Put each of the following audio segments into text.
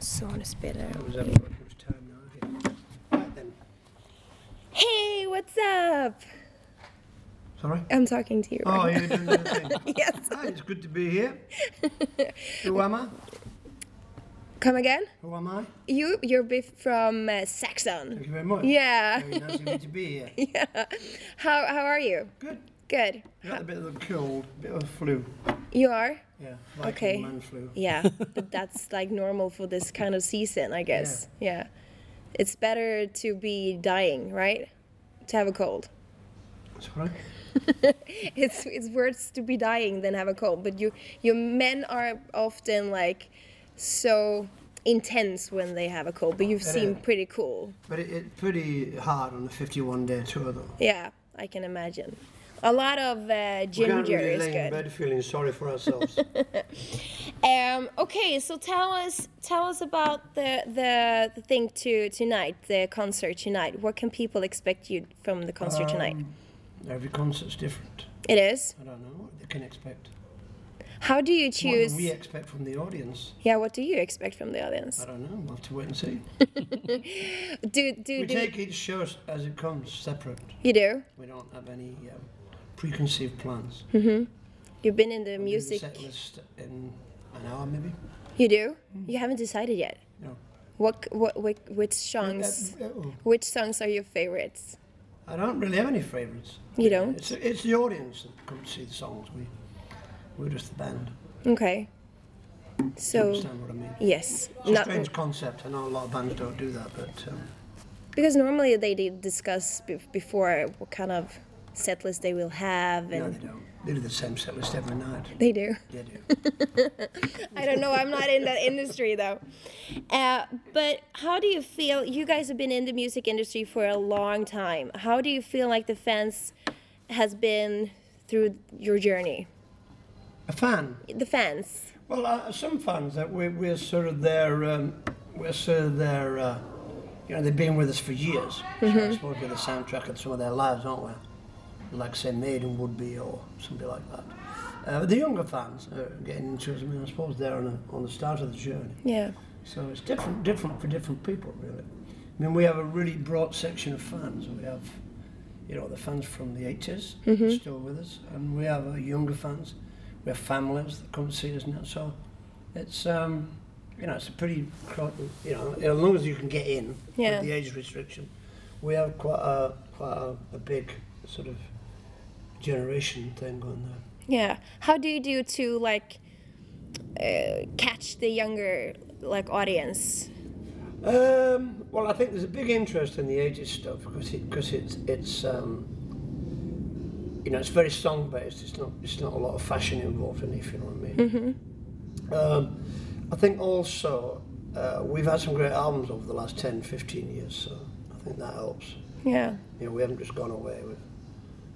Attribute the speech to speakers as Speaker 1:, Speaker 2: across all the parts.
Speaker 1: So I want to spit it
Speaker 2: It
Speaker 1: out.
Speaker 2: was everyone whose time not here. Right then.
Speaker 1: Hey, what's up?
Speaker 2: Sorry?
Speaker 1: I'm talking to you.
Speaker 2: Oh,
Speaker 1: right
Speaker 2: you're doing your thing.
Speaker 1: now. yes.
Speaker 2: Hi, it's good to be here. Who am I?
Speaker 1: Come again?
Speaker 2: Who am I?
Speaker 1: You, you're bef- from uh, Saxon.
Speaker 2: Thank you very much.
Speaker 1: Oh, Yeah.
Speaker 2: Very nice of you to be here.
Speaker 1: yeah. How how are you?
Speaker 2: Good.
Speaker 1: Good.
Speaker 2: Got a bit of a cold, bit of a flu.
Speaker 1: You are?
Speaker 2: Yeah. Like
Speaker 1: Okay.
Speaker 2: man flu.
Speaker 1: Yeah. but that's like normal for this kind of season, I guess. yeah. It's better to be dying, right? To have a cold.
Speaker 2: Sorry?
Speaker 1: it's it's worse to be dying than have a cold. But you your men are often like so intense when they have a cold. But you seem
Speaker 2: Yeah.
Speaker 1: pretty cool.
Speaker 2: But it, it's pretty hard on the 51 day tour, though.
Speaker 1: Yeah, I can imagine. A lot of uh,
Speaker 2: We
Speaker 1: ginger
Speaker 2: can't really
Speaker 1: is
Speaker 2: lay
Speaker 1: good.
Speaker 2: in bed feeling sorry for ourselves.
Speaker 1: Um, okay, so tell us tell us about the, the the thing to tonight, the concert tonight. What can people expect you from the concert tonight?
Speaker 2: Um, Every concert's different.
Speaker 1: It is.
Speaker 2: I don't know what they can expect.
Speaker 1: How do you
Speaker 2: What
Speaker 1: choose?
Speaker 2: do we Uh, expect from the audience?
Speaker 1: yeah, what do you expect from the audience?
Speaker 2: I don't know. We'll have to wait and see.
Speaker 1: Do do, do
Speaker 2: We take each show s- as it comes, separate.
Speaker 1: you do?
Speaker 2: We don't have any um, preconceived plans.
Speaker 1: You've been in the
Speaker 2: We do the
Speaker 1: Hmm. music.
Speaker 2: set list in an hour, maybe.
Speaker 1: You do?
Speaker 2: Mm.
Speaker 1: You haven't decided yet.
Speaker 2: No.
Speaker 1: What what which, which songs?
Speaker 2: Uh, uh,
Speaker 1: Which songs are your favorites?
Speaker 2: I don't really have any favourites.
Speaker 1: You don't?
Speaker 2: It's, it's the audience that come to see the songs. We, we're just the band.
Speaker 1: Okay.
Speaker 2: Do you
Speaker 1: So
Speaker 2: understand what I mean?
Speaker 1: yes,
Speaker 2: It's a
Speaker 1: not
Speaker 2: strange concept. I know a lot of bands don't do that, but um,
Speaker 1: because normally they did discuss be- before what kind of set list they will have,
Speaker 2: no,
Speaker 1: and
Speaker 2: they don't. They do the same set list every night.
Speaker 1: they do.
Speaker 2: They do.
Speaker 1: I don't know. I'm not in that industry though. Uh, but how do you feel? You guys have been in the music industry for a long time. How do you feel like the fans has been through your journey?
Speaker 2: a fan.
Speaker 1: The fans.
Speaker 2: Well, uh, some fans that we, we're sort of their, um, we're sort of their, uh, you know, they've been with us for years. So I suppose we're the soundtrack of some of their lives, aren't we? Like say Maiden would be or somebody like that. Uh, but the younger fans are getting into it. I mean, I suppose they're on, a, on the start of the journey.
Speaker 1: Yeah.
Speaker 2: So it's different, different for different people, really. I mean, we have a really broad section of fans. We have, you know, the fans from the 80s still with us, and we have uh, younger fans. We have families that come to see us now. So it's, um, you know, it's a pretty, cro- you know, as long as you can get in
Speaker 1: Yeah.
Speaker 2: with the age restriction, we have quite a quite a, a big sort of generation thing going there.
Speaker 1: Yeah. How do you do to like uh, catch the younger like audience?
Speaker 2: Um, well, I think there's a big interest in the ages stuff because it, because it's it's um, you know it's very song based. It's not it's not a lot of fashion involved in it. If you know what I mean. Um, I think also uh, we've had some great albums over the last 10, 15 years, so I think that helps.
Speaker 1: Yeah.
Speaker 2: You know, we haven't just gone away. We've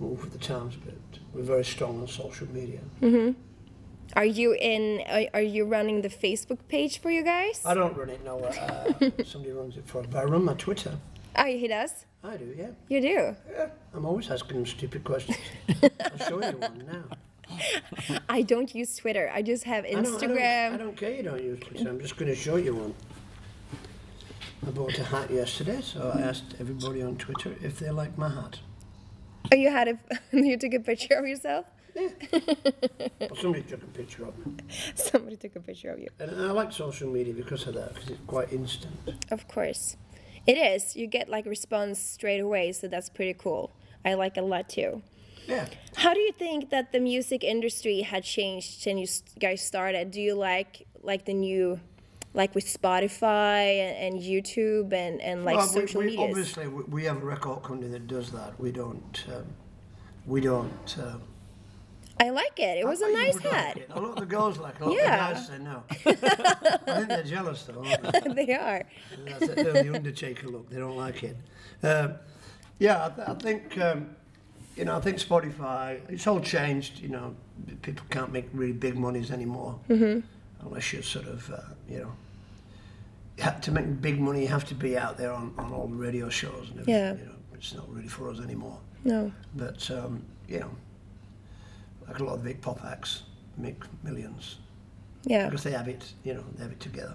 Speaker 2: moved with the times a bit. We're very strong on social media.
Speaker 1: Are you in? Are, are you running the Facebook page for you guys?
Speaker 2: I don't run it now. Uh, somebody runs it for us, but I run my Twitter.
Speaker 1: Oh, he does.
Speaker 2: I do, yeah.
Speaker 1: You do.
Speaker 2: Yeah, I'm always asking them stupid questions. I'll show you one now.
Speaker 1: I don't use Twitter. I just have
Speaker 2: I don't- I don't- I don't,
Speaker 1: Instagram.
Speaker 2: care you don't use Twitter. I'm just going to show you one. I bought a hat yesterday, so I asked everybody on Twitter if they like my hat.
Speaker 1: Oh, you had a. you took a picture of yourself. Uh.
Speaker 2: But somebody took a picture of me.
Speaker 1: Somebody took a picture of you.
Speaker 2: And I like social media because of that, because it's quite instant.
Speaker 1: Of course, it is. You get like response straight away, so that's pretty cool. I like a lot too.
Speaker 2: Yeah.
Speaker 1: How do you think that the music industry had changed since you s- guys started? Do you like like the new, like with Spotify and, and YouTube and and like
Speaker 2: Well, we-
Speaker 1: social
Speaker 2: we,
Speaker 1: media? medias?
Speaker 2: Obviously, we, we have a record company that does that. We don't. Um, we don't. Um,
Speaker 1: I like it. It was a
Speaker 2: I thought you
Speaker 1: nice
Speaker 2: would like
Speaker 1: hat.
Speaker 2: it. A lot of the girls like it. A lot
Speaker 1: Yeah.
Speaker 2: of the guys say no. I think they're jealous though. Aren't they?
Speaker 1: they are.
Speaker 2: That's it. They're the Undertaker look. They don't like it. Um, yeah, I, th- I think um, you know. I think Spotify. It's all changed. You know, B- people can't make really big monies anymore unless you're sort of uh, you know. you have To make big money, you have to be out there on, on all the radio shows and everything.
Speaker 1: Yeah.
Speaker 2: You know, it's not really for us anymore.
Speaker 1: No.
Speaker 2: But um, you know, like a lot of big pop acts make millions
Speaker 1: Yeah.
Speaker 2: because they have it. You know, they have it together.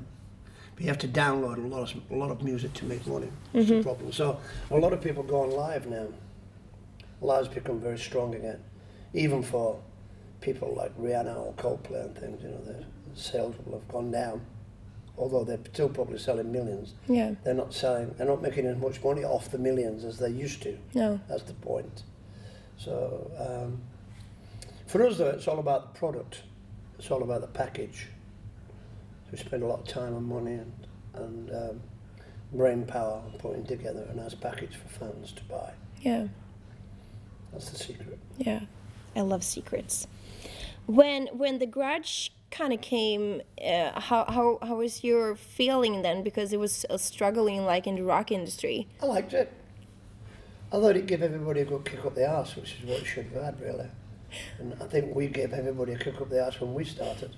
Speaker 2: But you have to download a lot of a lot of music to make money. That's the problem. So a lot of people go on live now. Live's become very strong again, even for people like Rihanna or Coldplay and things. You know, their sales will have gone down, although they're still probably selling millions.
Speaker 1: Yeah.
Speaker 2: They're not selling. They're not making as much money off the millions as they used to.
Speaker 1: No.
Speaker 2: That's the point. So um, for us, though, it's all about the product. It's all about the package. So we spend a lot of time and money and, and um, brain power on putting together a nice package for fans to buy.
Speaker 1: Yeah.
Speaker 2: That's the secret.
Speaker 1: Yeah. I love secrets. When when the grudge kind of came, uh, how how how was your feeling then? Because it was uh, struggling like in the rock industry.
Speaker 2: I liked it. I thought it gave everybody a good kick up the arse, which is what it should have had, really. And I think we gave everybody a kick up the arse when we started.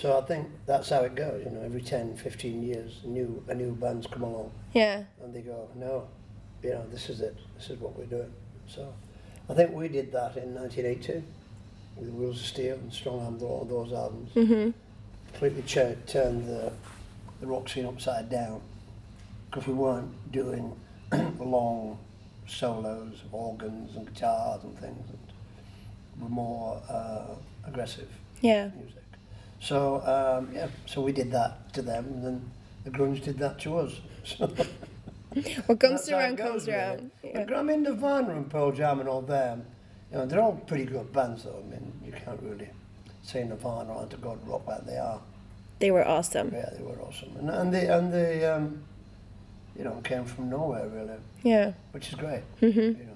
Speaker 2: so I think that's how it goes. You know, every 10, 15 years, new a new band's come along.
Speaker 1: Yeah.
Speaker 2: and they go, no, you know, this is it, this is what we're doing. So I think we did that in 1982 with Wheels of Steel and Strong Arm, all those albums. Completely cha- turned the, the rock scene upside down because we weren't doing long solos of organs and guitars and things. And we're more uh, aggressive
Speaker 1: Yeah.
Speaker 2: music. So um, yeah, so we did that to them, and then the grunge did that to us. So.
Speaker 1: What comes
Speaker 2: That's how it
Speaker 1: around
Speaker 2: goes,
Speaker 1: comes
Speaker 2: really.
Speaker 1: around. Yeah.
Speaker 2: But I mean, Nirvana and Pearl Jam and all them, you know, they're all pretty good bands, though. I mean, you can't really say Nirvana aren't a good rock band. They are.
Speaker 1: They were awesome.
Speaker 2: Yeah, they were awesome, and and they and they, um, you know, came from nowhere really,
Speaker 1: Yeah.
Speaker 2: which is great. You
Speaker 1: Mm-hmm.
Speaker 2: know.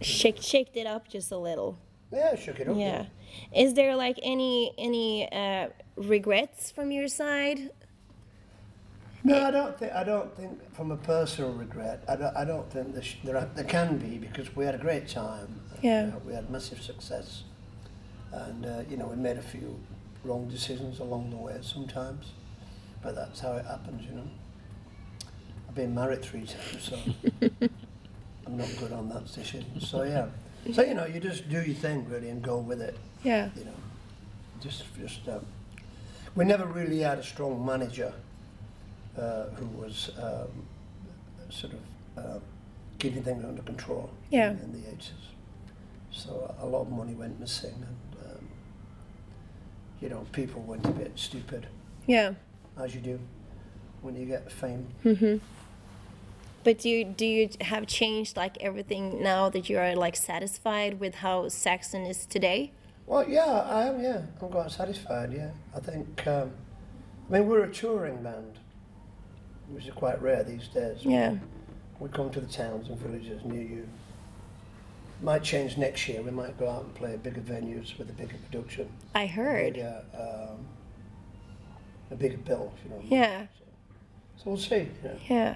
Speaker 1: Shake shaked it up just a little.
Speaker 2: Yeah, shook it up.
Speaker 1: Yeah. Is there like any any uh, regrets from your side?
Speaker 2: No, I don't think. I don't think from a personal regret. I don't. I don't think there, sh- there, are, there can be because we had a great time.
Speaker 1: Yeah.
Speaker 2: You know, we had massive success, and uh, you know we made a few wrong decisions along the way sometimes, but that's how it happens. You know. I've been married three times, so I'm not good on that decision. So yeah. So you know, you just do your thing really and go with it
Speaker 1: Yeah.
Speaker 2: you know, just just um, we never really had a strong manager uh, who was um, sort of uh, keeping things under control.
Speaker 1: Yeah.
Speaker 2: In, in the eighties, so a lot of money went missing, and um, you know, people went a bit stupid,
Speaker 1: Yeah.
Speaker 2: as you do when you get fame.
Speaker 1: But do you, do you have changed like everything now that you are like satisfied with how Saxon is today?
Speaker 2: Well, yeah, I am. Yeah, I'm quite satisfied. Yeah, I think. Um, I mean, we're a touring band, which is quite rare these days.
Speaker 1: Yeah.
Speaker 2: We come to the towns and villages near you. Might change next year. We might go out and play bigger venues with a bigger production,
Speaker 1: I heard.
Speaker 2: bigger, um, a bigger bill. You know.
Speaker 1: Yeah.
Speaker 2: So we'll see. You know.
Speaker 1: Yeah.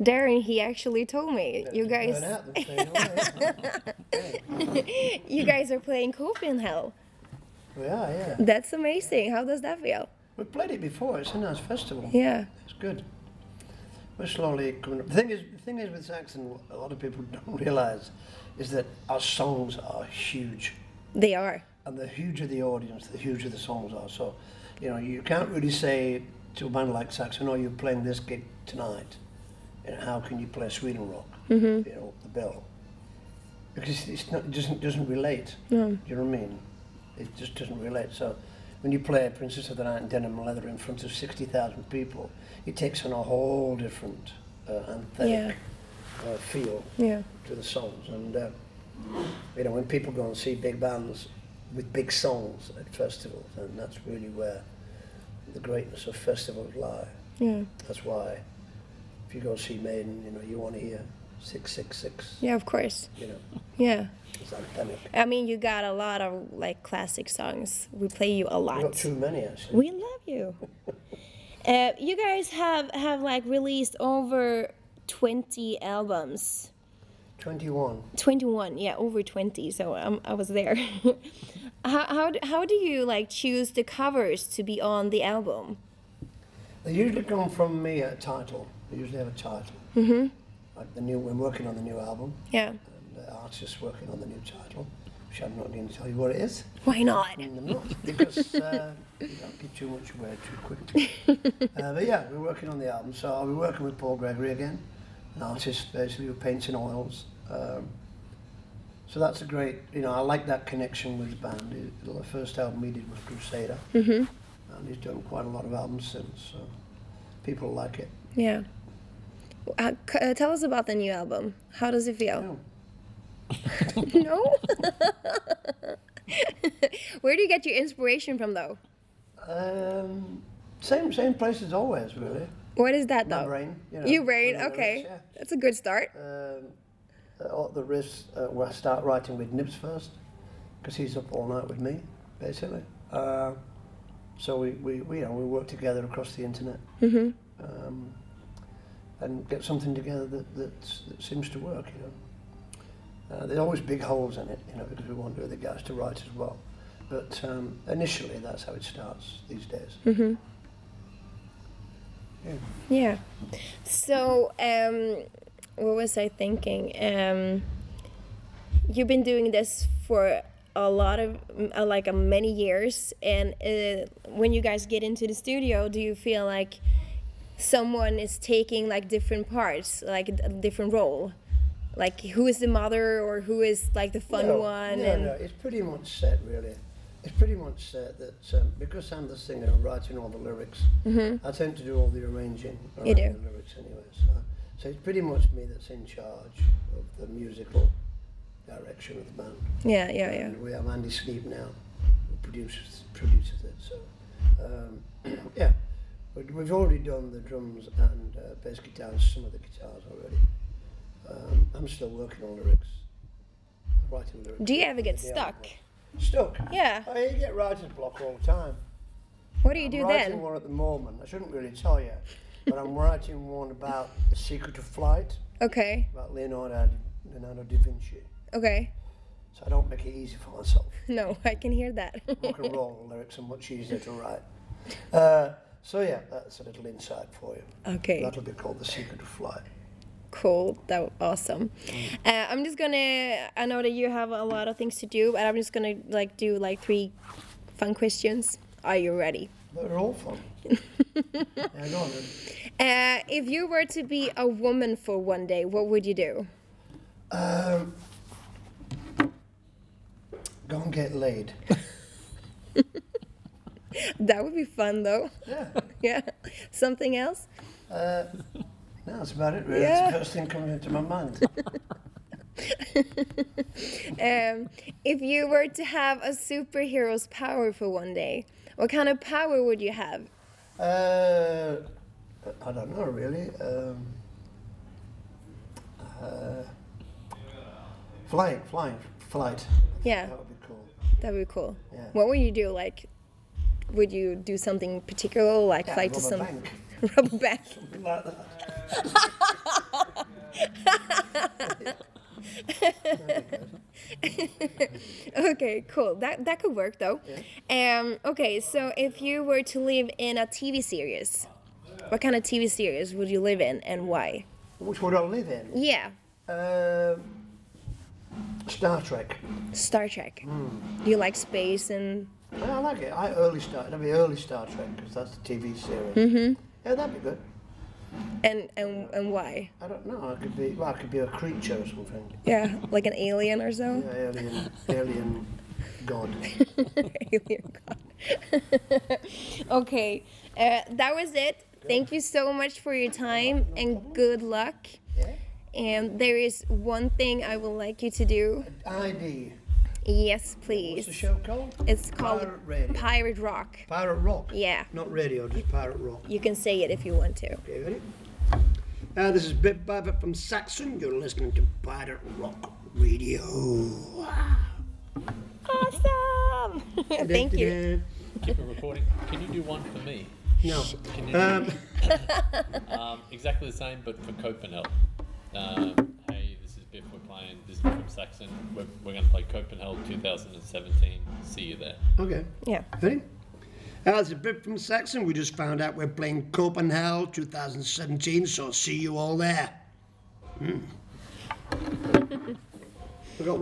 Speaker 1: Darren, he actually told me you guys
Speaker 2: Burn out and say, "Oh, yeah,
Speaker 1: you guys are playing Copenhagen.
Speaker 2: We are, yeah.
Speaker 1: That's amazing. How does that feel?
Speaker 2: We played it before. It's a nice festival.
Speaker 1: Yeah.
Speaker 2: It's good. We're slowly coming up. The thing is, the thing is with Saxon, a lot of people don't realise, is that our songs are huge.
Speaker 1: They are.
Speaker 2: and the huger the audience, the huger the songs are. So, you know, you can't really say to a band like Saxon, "Oh, you're playing this gig tonight," and how can you play Sweden rock? You know, the bill because it's not it doesn't doesn't relate. Do you know what I mean? It just doesn't relate. So. When you play Princess of the Night in denim and leather in front of 60,000 people, it takes on a whole different uh, anthemic uh, feel
Speaker 1: Yeah.
Speaker 2: to the songs. And uh, you know, when people go and see big bands with big songs at festivals, and that's really where the greatness of festivals lie.
Speaker 1: Yeah.
Speaker 2: That's why if you go see Maiden, you know, you want to hear six six six.
Speaker 1: Yeah, of course.
Speaker 2: You know,
Speaker 1: Yeah.
Speaker 2: it's anthemic.
Speaker 1: I mean, you got a lot of like classic songs. We play you a lot.
Speaker 2: Not too many actually.
Speaker 1: We love you. uh, you guys have have like released over 20 albums.
Speaker 2: Twenty-one.
Speaker 1: 21, yeah, over 20. So um, I was there. how, how d- how do you like choose the covers to be on the album?
Speaker 2: They usually come from me at a title. They usually have a title.
Speaker 1: Mm-hmm.
Speaker 2: Like the new, we're working on the new album.
Speaker 1: Yeah.
Speaker 2: and the artist working on the new title. which I'm not going to tell you what it is.
Speaker 1: Why not?
Speaker 2: I'm not, because uh, you don't give too much away too quickly. uh, but yeah, we're working on the album. So I'll be working with Paul Gregory again, an artist basically who paints in oils. Um, so that's a great, you know, I like that connection with the band. It- The first album we did was Crusader,
Speaker 1: hmm
Speaker 2: and he's done quite a lot of albums since. So people like it.
Speaker 1: Yeah. Uh, c- uh, tell us about the new album. How does it feel?
Speaker 2: No.
Speaker 1: No. Where do you get your inspiration from, though?
Speaker 2: Um, same same place as always, really.
Speaker 1: What is that,
Speaker 2: My
Speaker 1: though?
Speaker 2: brain. You know,
Speaker 1: Your brain.
Speaker 2: whatever it is,
Speaker 1: Oh. Okay,
Speaker 2: yeah.
Speaker 1: that's a good start.
Speaker 2: um, uh, all the riffs uh, where I start writing with Nibs first, because he's up all night with me, basically. Uh, so we, we, we, you know, we work together across the internet
Speaker 1: hmm
Speaker 2: um, and get something together that, that's, that seems to work, you know. Uh, there's always big holes in it, you know, because we want the other guys to write as well. But um, initially, that's how it starts these days.
Speaker 1: hmm
Speaker 2: Yeah.
Speaker 1: Yeah. So, um, what was I thinking? Um, you've been doing this for a lot of m- uh, like uh, many years, and uh, when you guys get into the studio, do you feel like someone is taking like different parts, like a different role? Like who is the mother or who is like the fun
Speaker 2: no,
Speaker 1: one?
Speaker 2: No,
Speaker 1: and
Speaker 2: no, it's pretty much set really. It's pretty much set that um, because I'm the singer and writing all the lyrics,
Speaker 1: Mm-hmm.
Speaker 2: I tend to do all the arranging around
Speaker 1: You do.
Speaker 2: the lyrics anyway. So, so it's pretty much me that's in charge of the musical direction of the band.
Speaker 1: Yeah, yeah, yeah.
Speaker 2: And we have Andy Sneap now, who produces produces it. So um, yeah, we, we've already done the drums and uh, bass guitars, some of the guitars already. Um, I'm still working on lyrics, writing lyrics.
Speaker 1: Do you ever get
Speaker 2: Yeah.
Speaker 1: stuck?
Speaker 2: Stuck.
Speaker 1: Yeah.
Speaker 2: Oh, you get writer's block all the time.
Speaker 1: What do you
Speaker 2: I'm
Speaker 1: do
Speaker 2: writing
Speaker 1: then?
Speaker 2: one at the moment. I shouldn't really tell you, but I'm writing one about the secret of flight,
Speaker 1: Okay,
Speaker 2: about Leonardo Leonardo da Vinci.
Speaker 1: okay.
Speaker 2: So I don't make it easy for myself.
Speaker 1: No, I can hear that.
Speaker 2: rock and roll lyrics are much easier to write. Uh, so yeah, that's a little insight for you.
Speaker 1: okay.
Speaker 2: That'll be called the secret of flight.
Speaker 1: Cool. That was awesome.
Speaker 2: Mm.
Speaker 1: Uh, I'm just gonna. I know that you have a lot of things to do, but I'm just gonna like do like three fun questions. Are you ready?
Speaker 2: They're all fun. yeah, go on then.
Speaker 1: Uh, if you were to be a woman for one day, what would you do?
Speaker 2: Um, go and get laid.
Speaker 1: That would be fun, though.
Speaker 2: Yeah.
Speaker 1: yeah. Something else?
Speaker 2: Uh, no, that's about it really.
Speaker 1: Yeah.
Speaker 2: It's the first thing coming into my mind.
Speaker 1: Um, if you were to have a superhero's power for one day, what kind of power would you have?
Speaker 2: Uh, I don't know really. Um, uh, flying, flying, flight.
Speaker 1: Yeah,
Speaker 2: That would be cool.
Speaker 1: that would be cool.
Speaker 2: Yeah.
Speaker 1: What would you do? Like, would you do something particular, like
Speaker 2: Yeah,
Speaker 1: fly to
Speaker 2: rob a
Speaker 1: some
Speaker 2: bank.
Speaker 1: rubber band?
Speaker 2: like that.
Speaker 1: okay, cool. That that could work though. Um, okay, so if you were to live in a TV series, what kind of TV series would you live in and why?
Speaker 2: Which would I live in?
Speaker 1: Yeah,
Speaker 2: Um, Star Trek.
Speaker 1: Star Trek.
Speaker 2: Hmm.
Speaker 1: Do you like space and
Speaker 2: Yeah, I like it. I early Star. It'll be early Star Trek because that's the TV series.
Speaker 1: Mm-hmm.
Speaker 2: Yeah, that'd be good.
Speaker 1: and and and why?
Speaker 2: I don't know. I could be. Well, I could be a creature or something.
Speaker 1: Yeah, like an alien or
Speaker 2: Yeah,
Speaker 1: so.
Speaker 2: alien, alien god.
Speaker 1: alien god. okay, uh, that was it. Thank you so much for your time and good luck.
Speaker 2: Yeah.
Speaker 1: And there is one thing I would like you to do.
Speaker 2: ID.
Speaker 1: Yes,
Speaker 2: What's the
Speaker 1: please.
Speaker 2: show called?
Speaker 1: It's called
Speaker 2: Pirate Radio.
Speaker 1: Pirate Rock.
Speaker 2: Pirate Rock.
Speaker 1: Yeah.
Speaker 2: Not radio, just Pirate Rock.
Speaker 1: You can say it if you want to.
Speaker 2: Okay, ready? Uh, this is Bit Babbitt from Saxon. You're listening to Pirate Rock Radio.
Speaker 1: Awesome! Thank you.
Speaker 3: Keep it recording. Can you do one for me?
Speaker 2: No.
Speaker 3: Can you
Speaker 2: Um,
Speaker 3: um, exactly the same, but for Copenhagen. Um, hey, this is Biff. We're playing. This is Biff from Saxon. We're, we're going to play Copenhagen 2017. See you there.
Speaker 2: okay.
Speaker 1: Yeah.
Speaker 2: Ready? Uh, this is Bit from Saxon. We just found out we're playing Copenhagen 2017, so see you all there. Hmm.